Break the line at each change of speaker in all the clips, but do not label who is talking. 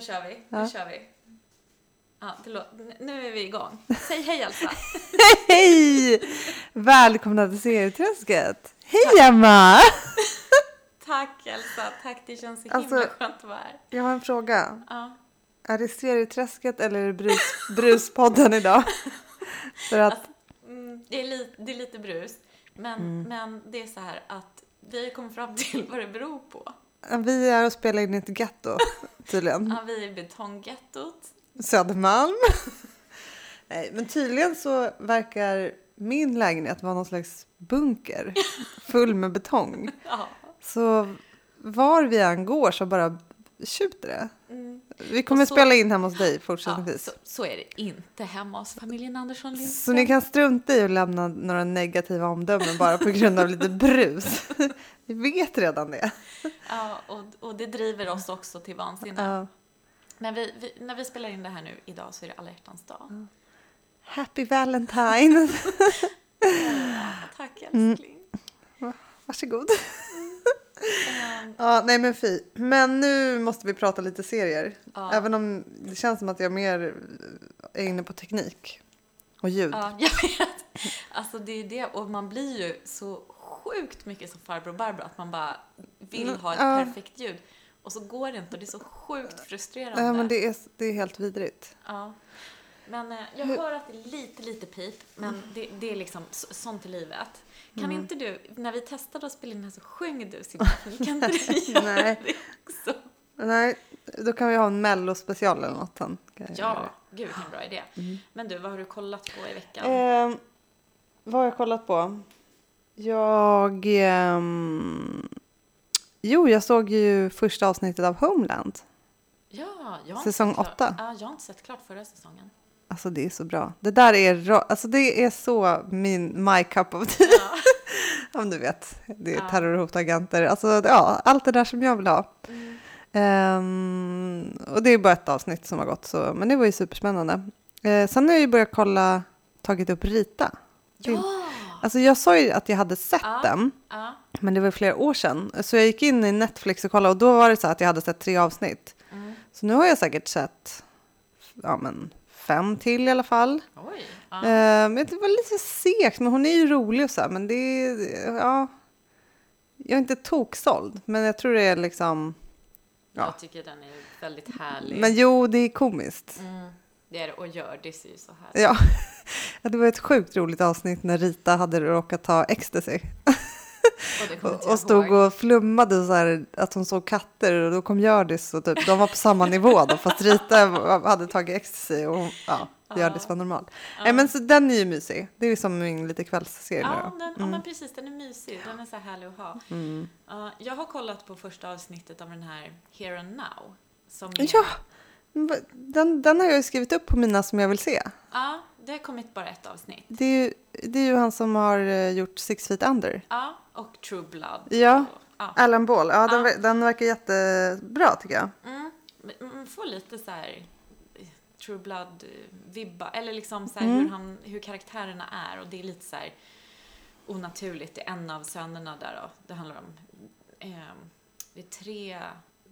kör vi.
Ja.
Alltså, Nu kör vi. Ja, det lå- n- nu är vi igång. Säg hej Elsa.
Hej! Välkomna till serieträsket! Hej Emma!
Tack Elsa, tack. Det känns så
Alltså-
himla skönt att vara här.
Jag har en fråga.
Ja.
Är det serieträsket eller är det brus, bruspodden idag? För att,
Mm, det, är li- det är lite brus, men,
Mm.
men det är så här att vi har kommit fram till vad det beror på.
vi är och spelar in i ett getto tydligen.
Ja, vi är i betonggettot.
Södermalm. Nej, men tydligen så verkar min lägenhet vara någon slags bunker full med betong.
Ja.
Så var vi än går så bara tjuter det.
Mm.
Vi kommer
Och så-
spela in hemma hos dig
Ja,
fortsättningsvis.
så, så är det inte hemma hos familjen Andersson Lindström.
Så ni kan strunta i att lämna några negativa omdömen bara på grund av lite brus. Vi vet redan det.
Ja, och, och det driver oss också till vansinne.
Ja.
Men vi, vi, när vi spelar in det här nu idag så är det alla hjärtans dag.
happy Valentine!
Tack älskling.
Mm. Varsågod.
Ehm,
Ja, nej men fy. Men nu måste vi prata lite serier.
Ja.
Även om det känns som att jag mer är inne på teknik och ljud.
ja, jag vet. Alltså det är ju det och man blir ju så sjukt mycket som farbror Barbro att man bara vill
Mm,
ha ett
ja.
perfekt ljud. Och så går det inte och det är så sjukt frustrerande.
Nej, men det är, det är helt vidrigt.
Ja. Men eh, jag
Hur- Mm.
hör att det är lite, lite pip, men det, det är liksom så, sånt i livet. Kan inte du, när vi testade att spela in här så sjöng du så himla Kan inte du göra
Nej.
det också?
Nej, då kan vi ha en mellospecial eller något sen. Kan jag göra Mm.
Ja,
det.
gud vilken bra idé. Men du, vad har du kollat på i veckan?
Ehm, vad har jag kollat på? Jag... ehm, jo, jag såg ju första avsnittet av Homeland.
ja, jag har
säsong
inte sett
åtta.
klart- Ja, jag har inte sett klart förra säsongen.
Alltså det är så bra. Det där är, ra- alltså, det är så min my cup of tea.
Ja.
Om du vet, det
Ja.
är terrorhotagenter. Alltså ja, allt det där som jag vill ha.
Mm.
Ehm, och det är bara ett avsnitt som har gått, så, men det var ju superspännande. Eh, sen har jag ju börjat kolla, tagit upp Rita.
Ja!
Alltså jag sa ju att jag hade sett
Ja.
den.
ja.
Men det var ju flera år sedan. Så jag gick in i Netflix och kollade och då var det så här att jag hade sett tre avsnitt.
Mm.
Så nu har jag säkert sett ja, men, fem till i alla fall.
Oj. Ja.
Eh, men det var lite segt, men hon är ju rolig och så här, men det är, ja. Jag är inte toksåld, men jag tror det är liksom,
Jag tycker den är väldigt härlig.
men jo, det är komiskt.
Mm, det är det. Och Hjördis är ju så här.
Ja. Ja, det var ett sjukt roligt avsnitt när Rita hade råkat ta ecstasy
Och det kommer inte
och,
jag
och stod
ihåg.
och flummade så här att hon såg katter och då kom Hjördis och typ, de var på samma nivå då fast Rita hade tagit ecstasy och ja, Hjördis var normal. Nej, men så den är ju mysig. Det är ju som min lite kvällsserie nu
Ja,
då. Mm,
den, ja, men precis. Den är mysig. Den är så här härlig att ha. Ja, jag har kollat på första avsnittet av den här Here and Now. Som är,
Ja, men mm. va- den, den har jag ju skrivit upp på mina som jag vill se.
Ja, det har kommit bara ett avsnitt.
Det är ju, det är ju han som har eh, gjort Six Feet Under.
Ja, och True Blood.
Ja.
Och- ja.
Alan Ball, ja, den,
Ja.
ver- den verkar jättebra tycker jag.
Mm, men man får lite så här eh, True Blood-vibba. Eller liksom så här
Mm.
hur, han, hur karaktärerna är. Och det är lite så här onaturligt. Det är en av sönerna där då. Det handlar om... ehm, det är tre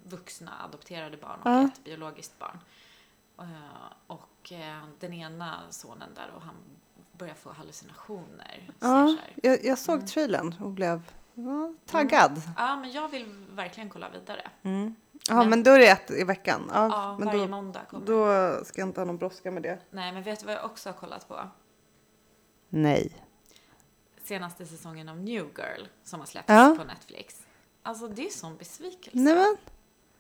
vuxna adopterade barn och
Ja.
ett biologiskt barn. Eh, och eh, den ena sonen där och han börjar få hallucinationer. ser
Ja,
så här.
jag, jag
Mm.
såg trailern och blev ja, taggad. Mm.
ja, men jag vill verkligen kolla vidare.
Ja, men då är det ett i veckan. Ja,
Ja,
men
varje
då,
måndag kommer.
då ska jag inte ha någon brådska med det.
Nej, men vet du vad jag också har kollat på?
Nej.
senaste säsongen av New Girl som har släppts
Ja.
på Netflix. Alltså det är sån besvikelse.
Nej men,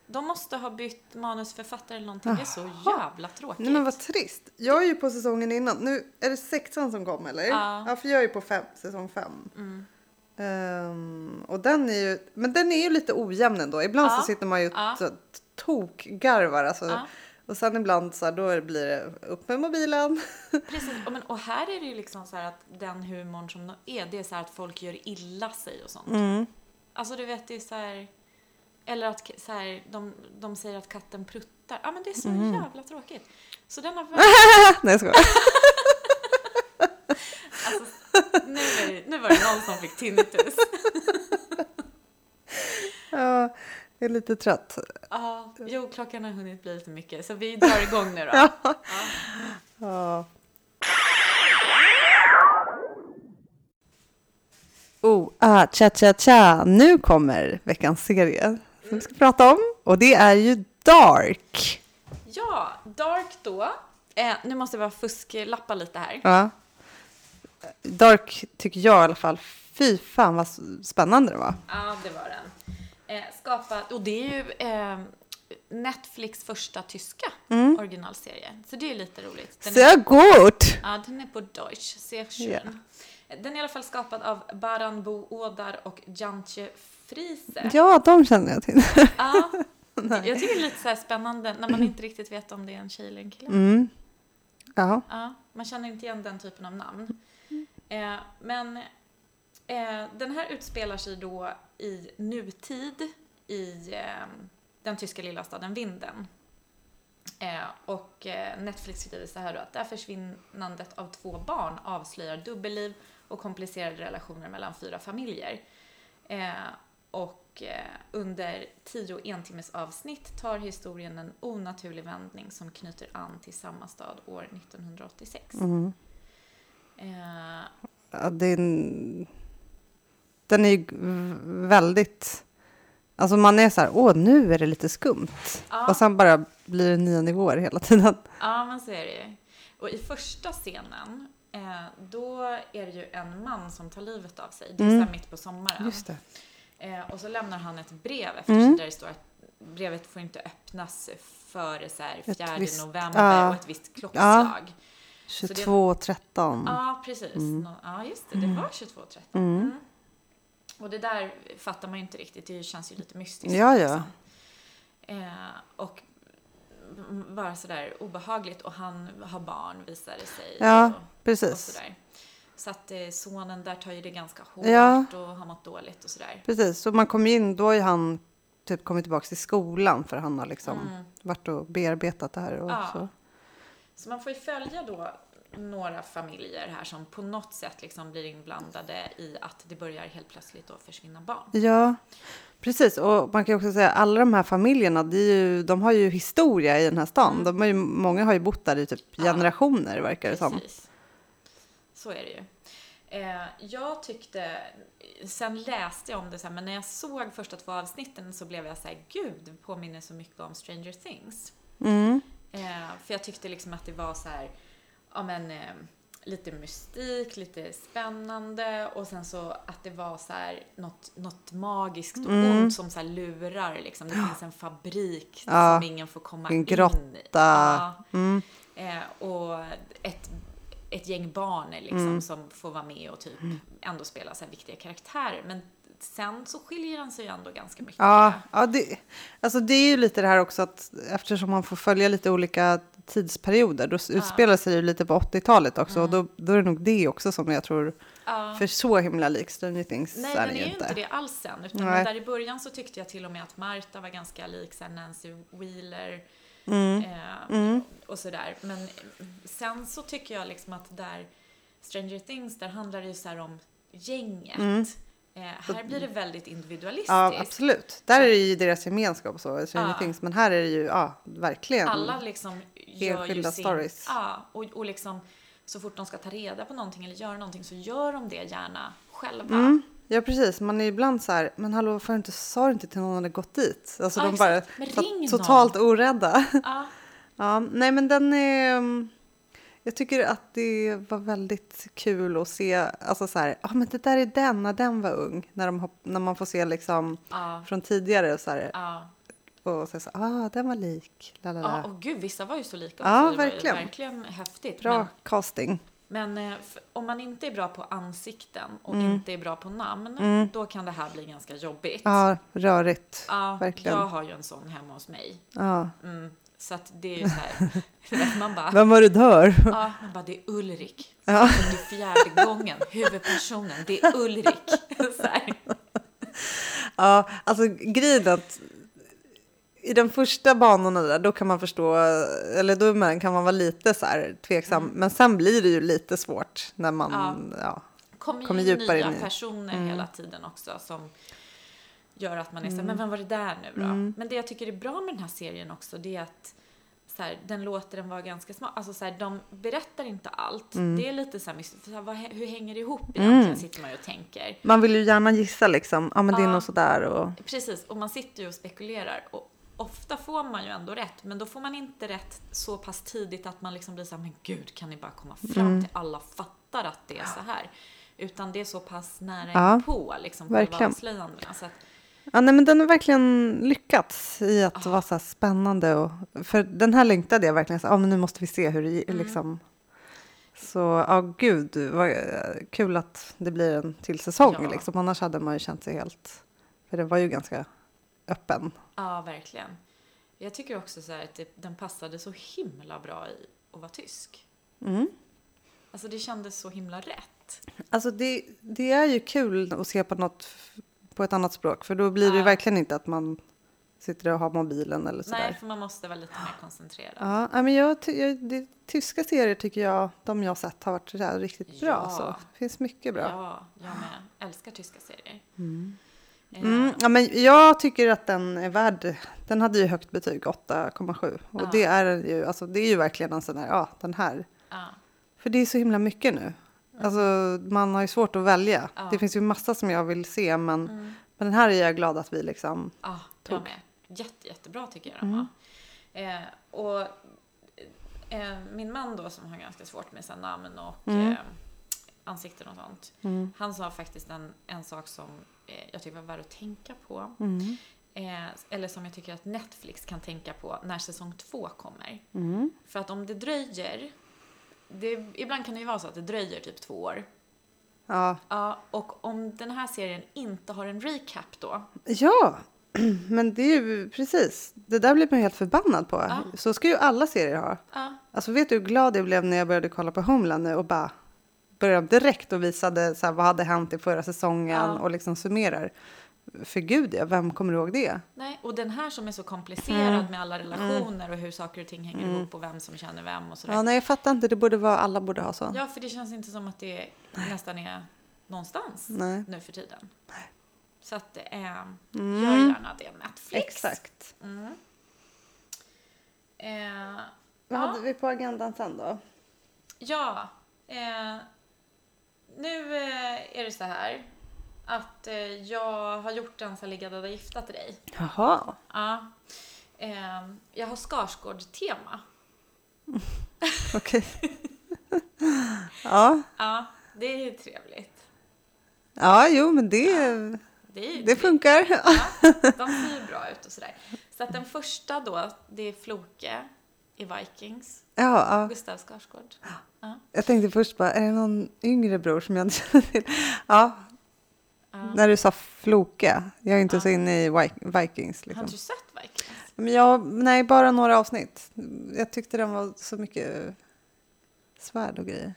De måste ha bytt manusförfattare eller någonting. Det är så jävla tråkigt.
nej men vad trist. Jag är ju på säsongen innan. Nu är det sexan som kom eller?
Ja.
för jag är ju på fem, säsong fem.
Mm.
Ehm, och den är ju, men den är ju lite ojämn ändå. Ibland
Ja.
så sitter man ju
Ja.
så t- tokgarvar alltså.
Ja.
Och sen ibland så här, då blir det upp med mobilen.
Precis. Och, men, och här är det ju liksom så här att den humorn som är, det är så här att folk gör illa sig och sånt.
Mm.
Alltså du vet, det är så här... Eller att k- så här, de, de säger att katten pruttar. Ja men det är så
Mm.
jävla tråkigt. Så den har verkligen-
Nej jag skojar.
alltså, nu, är det, nu var det någon som fick tinnitus.
Ja. Jag är lite trött.
Ja, jo, klockan har hunnit bli lite mycket, så vi drar igång nu då.
Ja. Ja. Oh, ah, cha cha cha. Nu kommer veckans serie som vi ska prata om och det är ju Dark.
Ja, Dark då. Eh, nu måste jag bara fusklappa lite här.
Ja. Dark tycker jag i alla fall, fy fan vad spännande det var.
Ja, det var den. Eh, skapa, och det är ju eh, Netflix första tyska
Mm.
originalserie. Så det är ju lite roligt. Den är,
Så gott!
ja, den är på Deutsch, sehr schön. Den är i alla fall skapad av Baran Bo Odar och Jantje Friese.
Ja, de känner jag till.
Ja. Jag tycker det är lite så här spännande när man inte riktigt vet om det är en tjej eller en kille.
Mm. Ja.
Ja, man känner inte igen den typen av namn. Eh, men eh, den här utspelar sig då i nutid i eh, den tyska lilla staden Vinden. Eh, och eh, Netflix skriver så här då att där försvinnandet av två barn avslöjar dubbelliv och komplicerade relationer mellan fyra familjer. Eh, och eh, under tio entimmes avsnitt tar historien en onaturlig vändning som knyter an till samma stad år 1986.
Mm.
Eh,
Ja, det är en... Den är ju v- väldigt... Alltså man är så här, åh nu är det lite skumt.
Ja.
Och sen bara blir det nya nivåer hela tiden.
Ja, men så är det ju. Och i första scenen, eh, då är det ju en man som tar livet av sig. Det är så här mitt på sommaren.
Mm. det. Mm.
Eh, och så lämnar han ett brev efter sig där det står att brevet får inte öppnas före så här 4
visst-
november
ja.
och ett visst klockslag.
22.13.
Ja, precis.
Mm.
Nå- Ja, just det. Det var 22.30. Mm. Och det där fattar man ju inte riktigt. Det känns ju lite mystiskt.
Ja, ja.
liksom. Eh, och m- bara sådär obehagligt. Och han har barn, visar det sig.
Ja,
och, och
precis.
sådär. Så att eh, sonen där tar ju det ganska hårt
Ja.
och har mått dåligt och sådär.
Precis, så man kommer in, då har ju han typ kommit tillbaka till skolan för han har liksom varit och bearbetat det här. Och
Mm. Ja.
så.
Så man får ju följa då några familjer här som på något sätt liksom blir inblandade i att det börjar helt plötsligt då försvinna barn.
ja, precis. Och man kan ju också säga alla de här familjerna, det är ju, de har ju historia i den här
Mm.
stan. De har ju, många har ju bott där i typ generationer verkar det som.
Precis. Så är det ju. Eh, jag tyckte, sen läste jag om det så här, men när jag såg första två avsnitten så blev jag så här, gud, det påminner så mycket om Stranger Things.
Mm.
Eh, för jag tyckte liksom att det var så här, ja men eh, lite mystik, lite spännande och sen så att det var så här något, något magiskt och
Mm.
ont som så här lurar liksom. Det finns en fabrik
Ja.
som ingen får komma
En
in i.
grotta.
Ja. Eh, och ett, ett gäng barn är liksom
Mm.
som får vara med och typ ändå spela så här viktiga karaktärer. Men sen så skiljer den sig ju ändå ganska mycket.
Ja, ja det, alltså det är ju lite det här också att eftersom man får följa lite olika tidsperioder, då utspelar sig det ju lite på 80-talet också. Och då, då är det nog det också som jag tror,
Ja.
för så himla lik Stranger Things
Nej,
är
den
det
är ju inte det alls sen. Utan
Nej.
där i början så tyckte jag till och med att Marta var ganska lik så här Nancy Wheeler.
Mm.
Eh, Och sådär. Men eh, sen så tycker jag liksom att där Stranger Things, där handlar det ju så här om gänget. Eh, här blir det väldigt individualistiskt.
Mm. Ja, absolut. Där är det ju deras gemenskap och så, Stranger
Ja.
Things, men här är det ju, ja, verkligen.
Alla liksom gör ju
Enskilda
sin...
stories.
Ja, och, och liksom så fort de ska ta reda på någonting eller göra någonting så gör de det gärna själva.
Mm. Ja, precis. Man är ibland så här, men hallå, varför inte, sa du inte till någon hade gått dit? Alltså
Ja,
de bara
exakt. Men
var
ring någon.
totalt orädda.
Ja,
Ja, nej men den är... mm, Jag tycker att det var väldigt kul att se, alltså så här, ja men det där är den när den var ung, när, de, hopp- när man får se liksom
ja,
från tidigare och så här,
ja.
och så, så ah den var lik, la la
Ja,
la.
och gud, vissa var ju så lika
Ja,
också. Det var ju
verkligen.
verkligen häftigt.
Bra casting.
Men, men eh, f- om man inte är bra på ansikten och
Mm.
inte är bra på namn, då kan det här bli ganska jobbigt.
Ja, rörigt.
Ja,
verkligen.
Jag har ju en sån hemma hos mig.
Ja.
Mm. Så att det är ju så här, du vet, man bara,
Vem var det där?
Ja, man bara, det är Ulrik. Ja. Det är fjärde gången, huvudpersonen, det är Ulrik. Så här.
Ja, alltså grejen är att i den första banorna där, då kan man förstå, eller då man- kan man vara lite så här tveksam,
Mm.
men sen blir det ju lite svårt när man, ja,
Kommer
Kommer
ju
djupare
nya
in i- Mm.
personer hela tiden också som gör att man är
Mm.
såhär, men vem var det där nu då? Men det jag tycker är bra med den här serien också, det är att så här, den låter den vara ganska smal. Alltså så här, de berättar inte allt.
Mm.
Det är lite så här, mystiskt, för så här, vad, hur hänger det ihop egentligen, sitter man ju och tänker.
Man vill ju gärna gissa liksom, ja men det är nog sådär och...
Precis, och man sitter ju och spekulerar. Och ofta får man ju ändå rätt, men då får man inte rätt så pass tidigt att man liksom blir såhär, men gud, kan ni bara komma fram
Mm.
till alla fattar att det är så här. Utan det är så pass nära
Ja,
på liksom, själva
verkligen.
avslöjandena. Så att,
Ja, nej, men den har verkligen lyckats i att vara så här spännande. Och, för den här längtade jag verkligen. Så, här, ah, men nu måste vi se hur det liksom. Så ja, gud, vad eh, kul att det blir en till säsong.
Ja.
Liksom. Annars hade man ju känt sig helt... För den var ju ganska öppen.
ja, verkligen. Jag tycker också så här att det, den passade så himla bra i att vara tysk.
Mm.
Alltså det kändes så himla rätt.
Alltså det, det är ju kul att se på något f- på ett annat språk. För då blir det ju
Ja.
verkligen inte att man sitter och har mobilen eller sådär.
Nej, för man måste vara lite mer koncentrerad.
Ja, nej, men jag, ty- jag, det, tyska serier tycker jag, de jag sett har varit så här riktigt bra.
Ja.
Så. Det finns mycket bra. Ja.
Ja, jag med. Älskar tyska serier. Eh,
Mm, ja, men jag tycker att den är värd, den hade ju högt betyg, 8,7. Och
Ja.
det, är den ju, alltså, det är ju verkligen en sån här, ja den här.
ja.
För det är så himla mycket nu. Alltså man har ju svårt att välja.
Ja.
Det finns ju massa som jag vill se men,
Mm.
men den här är jag glad att vi liksom,
Ja, jag
Tog.
med. Jätte, jättebra tycker jag de var. Eh, och eh, min man då som har ganska svårt med sina namn och eh, ansikten och sånt. Han sa faktiskt en, en sak som eh, jag tycker var värd att tänka på.
mm,
Eh, eller som jag tycker att Netflix kan tänka på när säsong två kommer. För att om det dröjer, det, ibland kan det ju vara så att det dröjer typ två år.
ja.
Ja, och om den här serien inte har en recap då,
Ja, men det är ju precis, det där blir man ju helt förbannad på.
Ja.
Så ska ju alla serier ha.
ja,
Alltså vet du hur glad jag blev när jag började kolla på Homeland nu och bara började direkt och visade så här, vad hade hänt i förra säsongen
Ja.
och liksom summerar. För gud ja, vem kommer ihåg det?
Nej, och den här som är så komplicerad
Mm.
med alla relationer och hur saker och ting hänger ihop och vem som känner vem och sådär.
Ja, nej, jag fattar inte, det borde vara, alla borde ha sån.
Ja, för det känns inte som att det nästan är någonstans
Nej.
nu för tiden. Så att, eh, gör gärna det Netflix.
Mm.
Mm.
Exakt.
Eh,
Vad
Ja.
hade vi på agendan sen då?
ja, eh, nu eh, är det så här att eh, jag har gjort en så här ligga döda gifta till dig.
Jaha.
Ja. Eh, jag har Skarsgård-tema.
Okej. ja.
Ja, det är ju trevligt.
ja, jo, men det,
Det, är ju
det funkar.
Ja, de ser ju bra ut och sådär. Så att den första då, det är Floke i Vikings.
Ja, ja.
Gustav Skarsgård. Ja.
Jag tänkte först bara, är det någon yngre bror som jag inte känner till? Ja. När du sa Floke, jag är inte
Ah.
så inne i Vi- Vikings.
Har
Liksom.
inte du sett Vikings?
Men jag, nej, bara några avsnitt. Jag tyckte den var så mycket svärd och grejer.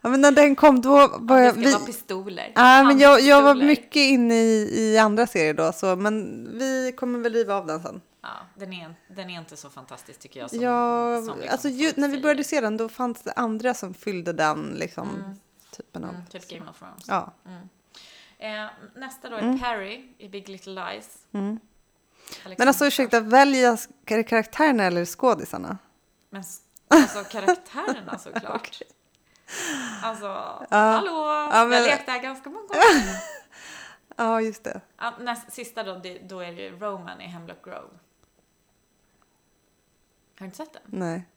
ja, men när den kom då var
Det
jag...
ska
Vi,
vara pistoler.
ja, men jag, jag var
Handpistoler.
mycket inne i, i andra serier då, så, men vi kommer väl riva av den sen.
Ja, den, är, den är inte så fantastisk tycker jag. Som,
ja,
Alltså, som liksom
alltså,
folk
ju, när vi
säger.
började se den då fanns det andra som fyllde den liksom, typen av...
Mm, typ Game of Thrones. Mm.
Ja. Mm.
Eh, nästa då är Perry i Big Little Lies.
Men alltså ursäkta, välja sk- är det karaktärerna eller skådisarna?
Men s- alltså karaktärerna såklart. Alltså, hallå! Jag
men-
lekte här ganska många gånger.
Ja, just det.
Ja, näst, sista då, det, då är det Roman i Hemlock Grove. Har du inte sett den?
Nej.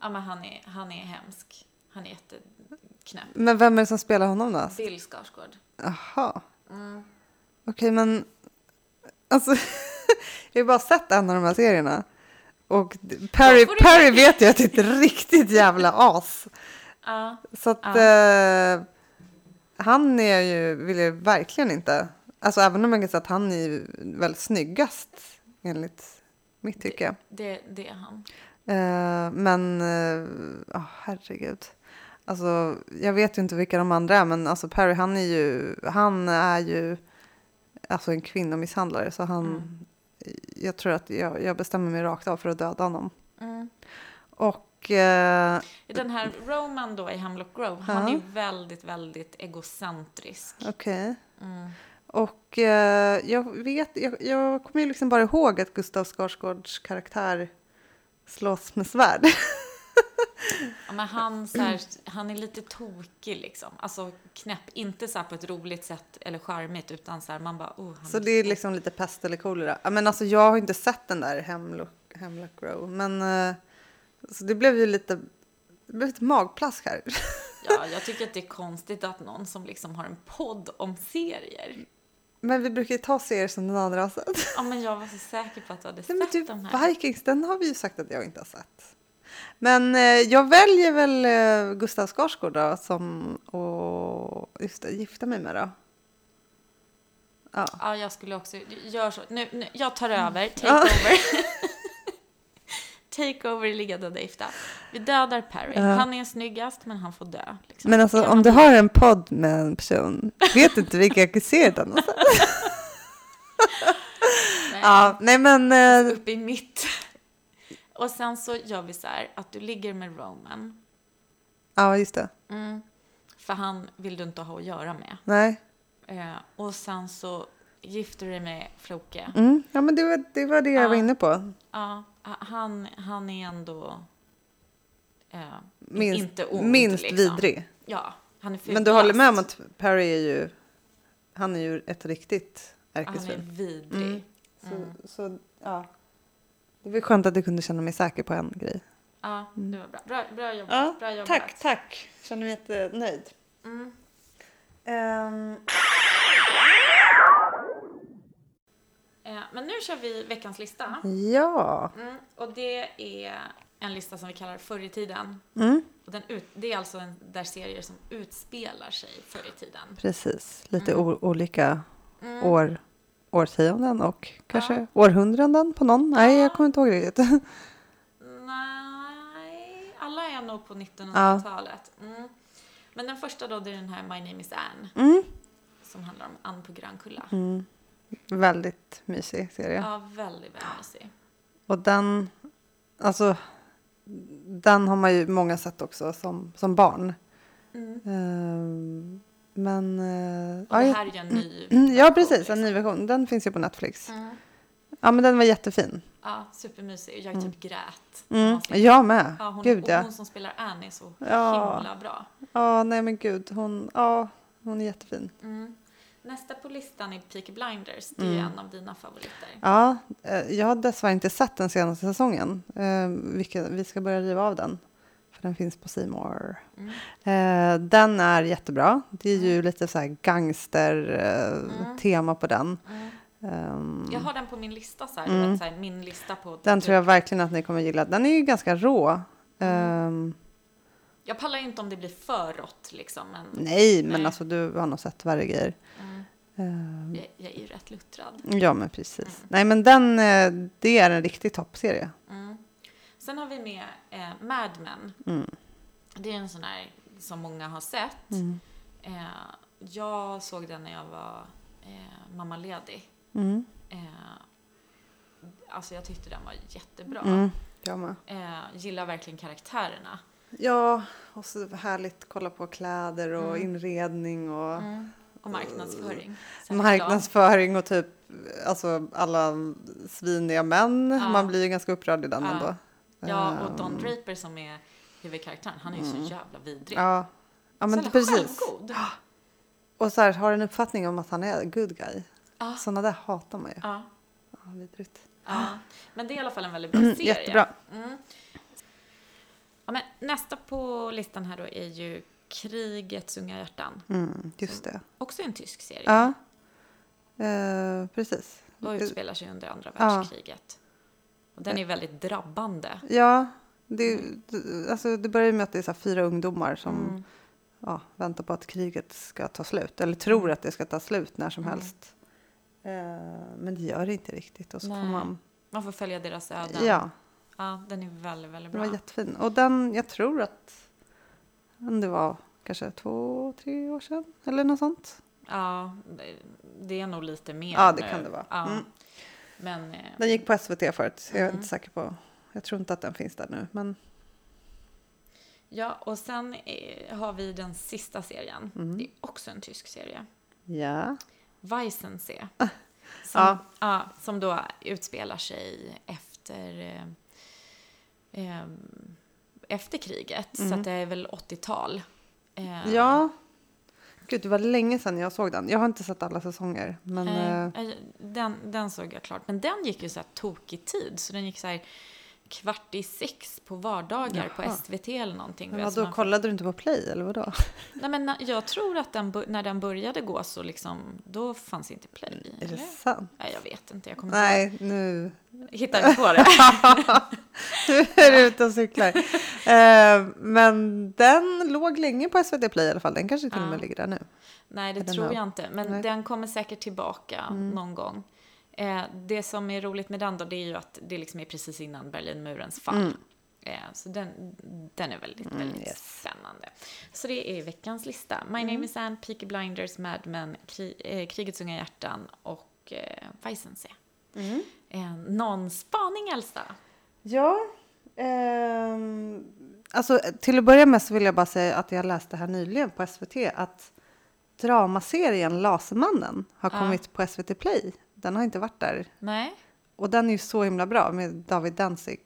Ja, men han är, han är hemsk. Han är jätteknäpp.
Men vem är det Mm. som spelar honom då?
Bill Skarsgård.
Jaha. Okej, men... Alltså, jag har ju bara sett en av de här serierna. Och d- Perry,
får du-
Perry vet jag att det är ett riktigt jävla as.
Ja,
Så att...
Ja.
Eh, han är ju, vill jag verkligen inte... Alltså även om man kan säga att han är ju väldigt snyggast enligt mitt tycke.
det, det är han.
Eh, men, eh, ah, herregud. Alltså, jag vet ju inte vilka de andra är, men alltså Perry, han är ju, han är ju alltså en kvinnomisshandlare, så han,
Mm.
jag tror att jag, jag bestämmer mig rakt av för att döda honom.
Mm.
Och, eh,
Den här Roman då i Hemlock Grove, han
Ja.
är ju väldigt, väldigt egocentrisk.
okej.
Mm.
Och eh, jag vet, jag, jag kommer ju liksom bara ihåg att Gustav Skarsgårds karaktär slåss med svärd.
Ja, men han, så här, han är lite tokig liksom. Alltså knäpp, inte så här på ett roligt sätt eller charmigt utan så här man bara oh, han
Så det är liksom lite pest eller kolera. Ja, Men alltså jag har inte sett den där Hemlock, Hemlock Row. Men eh, så det blev ju lite, det blev ett magplask här.
Ja, jag tycker att det är konstigt att någon som liksom har en podd om serier.
Men vi brukar ju ta serier som den andra har sett.
Ja, men jag var så säker på att du hade
Nej, men
sett
typ
de här.
Vikings, den har vi ju sagt att jag inte har sett. Men eh, jag väljer väl eh, Gustav Skarsgård då, som att just det, gifta mig med då. Ja.
Ja, jag skulle också... Gör så. Nu, nu, jag tar
Mm.
över. Take over. Take over i Ligga Döda Gifta. Vi dödar Perry.
Ja.
Han är snyggast, men han får dö. liksom.
Men alltså
Kan
om
man-
du har en podd med en person, vet inte vilka serier den alltså. har sett?
Nej.
Ja, nej men eh,
upp i mitt. Och sen så gör vi så här att du ligger med Roman.
ja just det.
Mm. För han vill du inte ha att göra med.
Nej,
Eh, och sen så gifter du dig med Floke.
mm. ja men det var det, var det jag
Ja.
var inne på.
Ja, ha- han, han är ändå... Eh,
Minst,
inte ond,
minst
liksom.
vidrig.
Ja, han är
Men du håller med om
fulast.
att Perry är ju, han är ju ett riktigt
Han är
ärkesvin.
vidrig.
Mm. Så,
Mm.
så, ja. Det var skönt att du kunde känna mig säker på en grej.
Ja, det var bra. Bra, bra jobbat.
Ja,
bra jobbat.
tack. Känner mig jättenöjd.
Mm.
Um,
Eh, men nu kör vi veckans lista.
ja.
Mm. Och det är en lista som vi kallar Förr i tiden.
Mm.
Och den ut, det är alltså en, där serier som utspelar sig förr i tiden.
Precis, lite o- olika
Mm.
år, årtionden och kanske århundraden på någon. Nej, jag kommer inte ihåg riktigt.
Nej, alla är nog på 1900-talet. Mm. Men den första då, det är den här My name is Anne.
Mm.
Som handlar om Anne på Grönkulla.
Väldigt mysig serie.
Ja, väldigt, väldigt mysig.
Och den, alltså, den har man ju många sett också som, som barn.
Mm.
Ehm, men... eh,
Och det
ja,
här är ju en ny...
Mm, Ja,
version,
precis.
liksom.
En ny version. Den finns ju på Netflix.
Mm.
Ja, men den var jättefin.
Ja, supermysig. Jag typ grät.
Mm.
När man
Jag med.
Ja, hon,
gud,
och
ja.
hon som spelar Annie är så
Ja.
himla bra.
Ja, nej men gud. Hon, ja, hon är jättefin.
Mm. Nästa på listan är Peaky Blinders. Det är ju en av dina favoriter.
Mm. Ja, eh, jag har dessvärre inte sett den senaste säsongen. Eh, vilket, vi ska börja riva av den. För den finns på C More.
Mm.
Eh, den är jättebra. Det är ju lite så här gangster-tema
Mm.
på den.
Mm.
Ehm,
Jag har den på min lista så här,
Mm.
du vet, så här min lista på...
den
typ-
tror jag verkligen att ni kommer gilla. Den är ju ganska rå.
Mm.
Ehm,
jag pallar inte om det blir för rått liksom, men
nej, men
Nej.
alltså du har nog sett värre grejer.
mm,
Ehm,
jag, jag är ju rätt luttrad.
Ja, men precis. Nej, men den, eh, det är en riktig toppserie.
Mm. Sen har vi med eh, Mad Men.
Mm.
Det är en sån här som många har sett.
Mm.
Eh, jag såg den när jag var eh, mammaledig.
Mm.
Eh, alltså jag tyckte den var jättebra.
Mm. Jag med.
Eh, gillar verkligen karaktärerna.
Ja, och så härligt att kolla på kläder och
Mm.
inredning och
Och marknadsföring.
Eh,
Särskilt
marknadsföring och typ alltså alla sviniga män.
Ja.
Man blir ju ganska upprörd i den
Ja.
ändå.
då. Ja, och Don
Ehm,
Draper som är huvudkaraktären, han är ju så jävla vidrig.
Mm. Ja.
så
Ja, men
jävla
precis.
självgod.
Och så här, har en uppfattning om att han är good guy.
Ja.
Sådana där hatar man ju.
Ja,
Ja, vidrigt.
ja. Men det är i alla fall en väldigt bra serie.
Jättebra.
Mm. Ja, men nästa på listan här då är ju Krigets unga hjärtan.
Mm, just det.
Också en tysk serie.
Ja. Eh, precis.
Och utspelar sig under andra
Ja.
världskriget. Och den är väldigt drabbande.
Ja, det, det- alltså det börjar ju med att det är så här fyra ungdomar som
Mm.
ja, väntar på att kriget ska ta slut. Eller tror att det ska ta slut när som
Mm.
helst. Eh, men det gör det inte riktigt. Och så får
Nej,
man...
Man får följa deras öden.
Ja,
Ja, den är väldigt, väldigt
den
bra.
var jättefin. Och den, jag tror att om det var kanske två, tre år sedan eller något sånt.
Ja, det- det är nog lite mer
Ja, det
nu.
kan det vara.
Ja.
Mm.
Men eh,
Den gick på SVT förut. så Jag är
Mm.
inte säker på. Jag tror inte att den finns där nu. Men
ja, och
Mm.
sen eh, har vi den sista serien. Det är också en tysk serie.
ja.
Weissensee. Som,
Ah. Ja.
ja. som då utspelar sig efter, eh, eh, efter kriget. Så att det är väl 80-tal. Eh,
Mm. Ja. Gud, det var länge sedan jag såg den. Jag har inte sett alla säsonger. Men eh,
Eh, eh, den, den såg jag klart. Men den gick ju så här tokig tid. Så den gick så här kvart i sex på vardagar
Jaha.
på SVT eller någonting.
men
vet, så
vadå,
man fick-
kollade du inte på play eller vadå?
Nej, men na- jag tror att den, bu- när den började gå så liksom, då fanns inte Play.
Är det
Eller?
sant?
Nej, Mm. jag vet inte. Jag kommer
Nej, nu
inte hitta på det.
nu är du ute och cyklar. Eh, men den låg länge på SVT Play i alla fall. Den kanske till och med
Ja.
ligger där nu.
Nej, det
don't
tror
know.
jag inte. Men
Nej. Mm.
den kommer säkert tillbaka någon gång. Eh, det som är roligt med den då, det är ju att det liksom är precis innan Berlinmurens fall.
Mm.
Eh, så den, den är väldigt, väldigt
yes. Mm.
spännande. Så det är veckans lista. My name is Anne, Peaky Blinders, Mad Men, kri, eh, Krigets unga hjärtan och eh, Weissensee. Eh, någon spaning, Elsa?
Ja. ehm, alltså, till att börja med så vill jag bara säga att jag läste här nyligen på SVT att dramaserien Lasermannen har
Ja.
kommit på SVT Play. Den har inte varit där.
Nej,
Och den är ju så himla bra med David Danzig.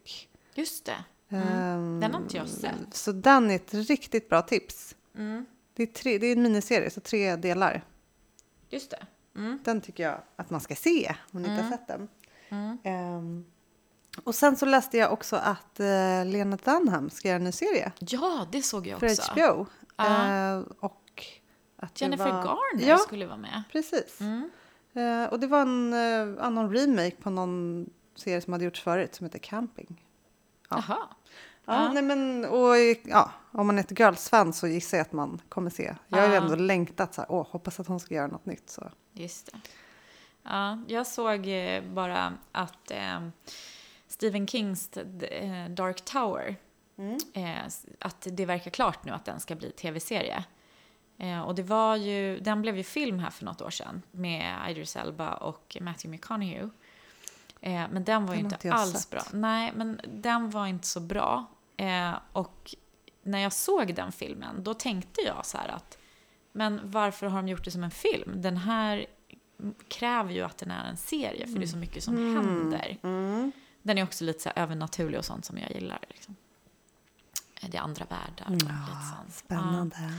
just det.
Ehm,
Mm. Den har inte jag sett.
Så den är ett riktigt bra tips.
Mm,
Det är, tre, det är en miniserie, så tre delar.
just det. Mm,
Den tycker jag att man ska se om ni inte har
Mm.
sett den.
mm.
Ehm, och sen så läste jag också att eh, Lena Dunham ska göra en ny serie
Ja, det såg jag
för
också.
HBO.
Ja.
Ehm, och att det
Jennifer
var...
Garner
Ja,
skulle vara med.
precis.
Mm.
Ehm, och det var en eh, annan remake på någon serie som hade gjorts förut som heter Camping. Ja.
Jaha.
Ja,
Ja.
Nej, men, och, ja, om man är ett Girls-fan så gissar jag att man kommer se. Jag har ju
Ja.
ändå längtat så här, åh, hoppas att hon ska göra något nytt. Så.
Just det. Ja, jag såg eh, bara att eh, Stephen Kings d- eh, Dark Tower, eh, s- att det verkar klart nu att den ska bli tv-serie. Eh, och det var ju, den blev ju film här för något år sedan med Idris Elba och Matthew McConaughey. Eh, men den var ju
Den
inte,
har inte jag
alls
sett.
bra. Nej, men den var inte så bra. Eh, och när jag såg den filmen, då tänkte jag så här att men varför har de gjort det som en film? Den här kräver ju att den är en serie, för det är
Mm.
så mycket som händer. Den är också lite så här övernaturlig och sånt som jag gillar. Liksom. Eh, Det är andra världar. och lite sånt.
Mm, Spännande.
Mm. Ja.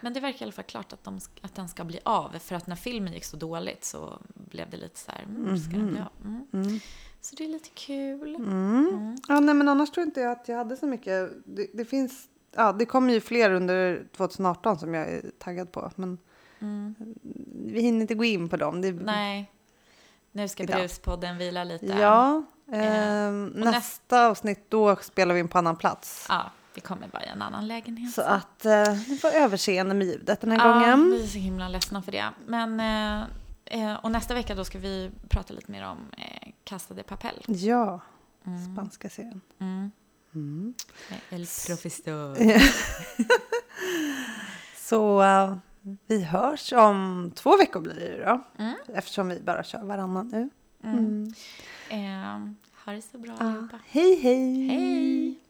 Men det verkar i alla fall klart att, de, sk- att den ska bli av. För att när filmen gick så dåligt så blev det lite så här, mm, ska den
Mhm.
bli av? Mm. Så det är lite kul.
Mm.
Mm,
Ja, nej, men annars tror inte jag att jag hade så mycket. Det, det finns, ja, det kommer ju fler under 2018 som jag är taggad på, men vi hinner inte gå in på dem. Det,
mm. Nej, nu ska
Idag.
Bruspodden vila lite.
Ja, ehm,
Eh, och
nästa avsnitt då spelar vi in på annan plats.
Ja, vi kommer bara i en annan lägenhet.
Så att eh, ni får överseende med ljudet den här
Ja,
gången.
vi är så himla ledsna för det. Men, eh, eh, och nästa vecka då ska vi prata lite mer om eh, Casa de Papel.
Ja, spanska serien.
Mm.
Mm.
Med El Profesor.
Så eh, vi hörs om två veckor blir det då. Eftersom vi bara kör varannan nu. Mm.
Mm. Eh, ha det Ehm, så bra allihopa.
Hej hej!
Hej!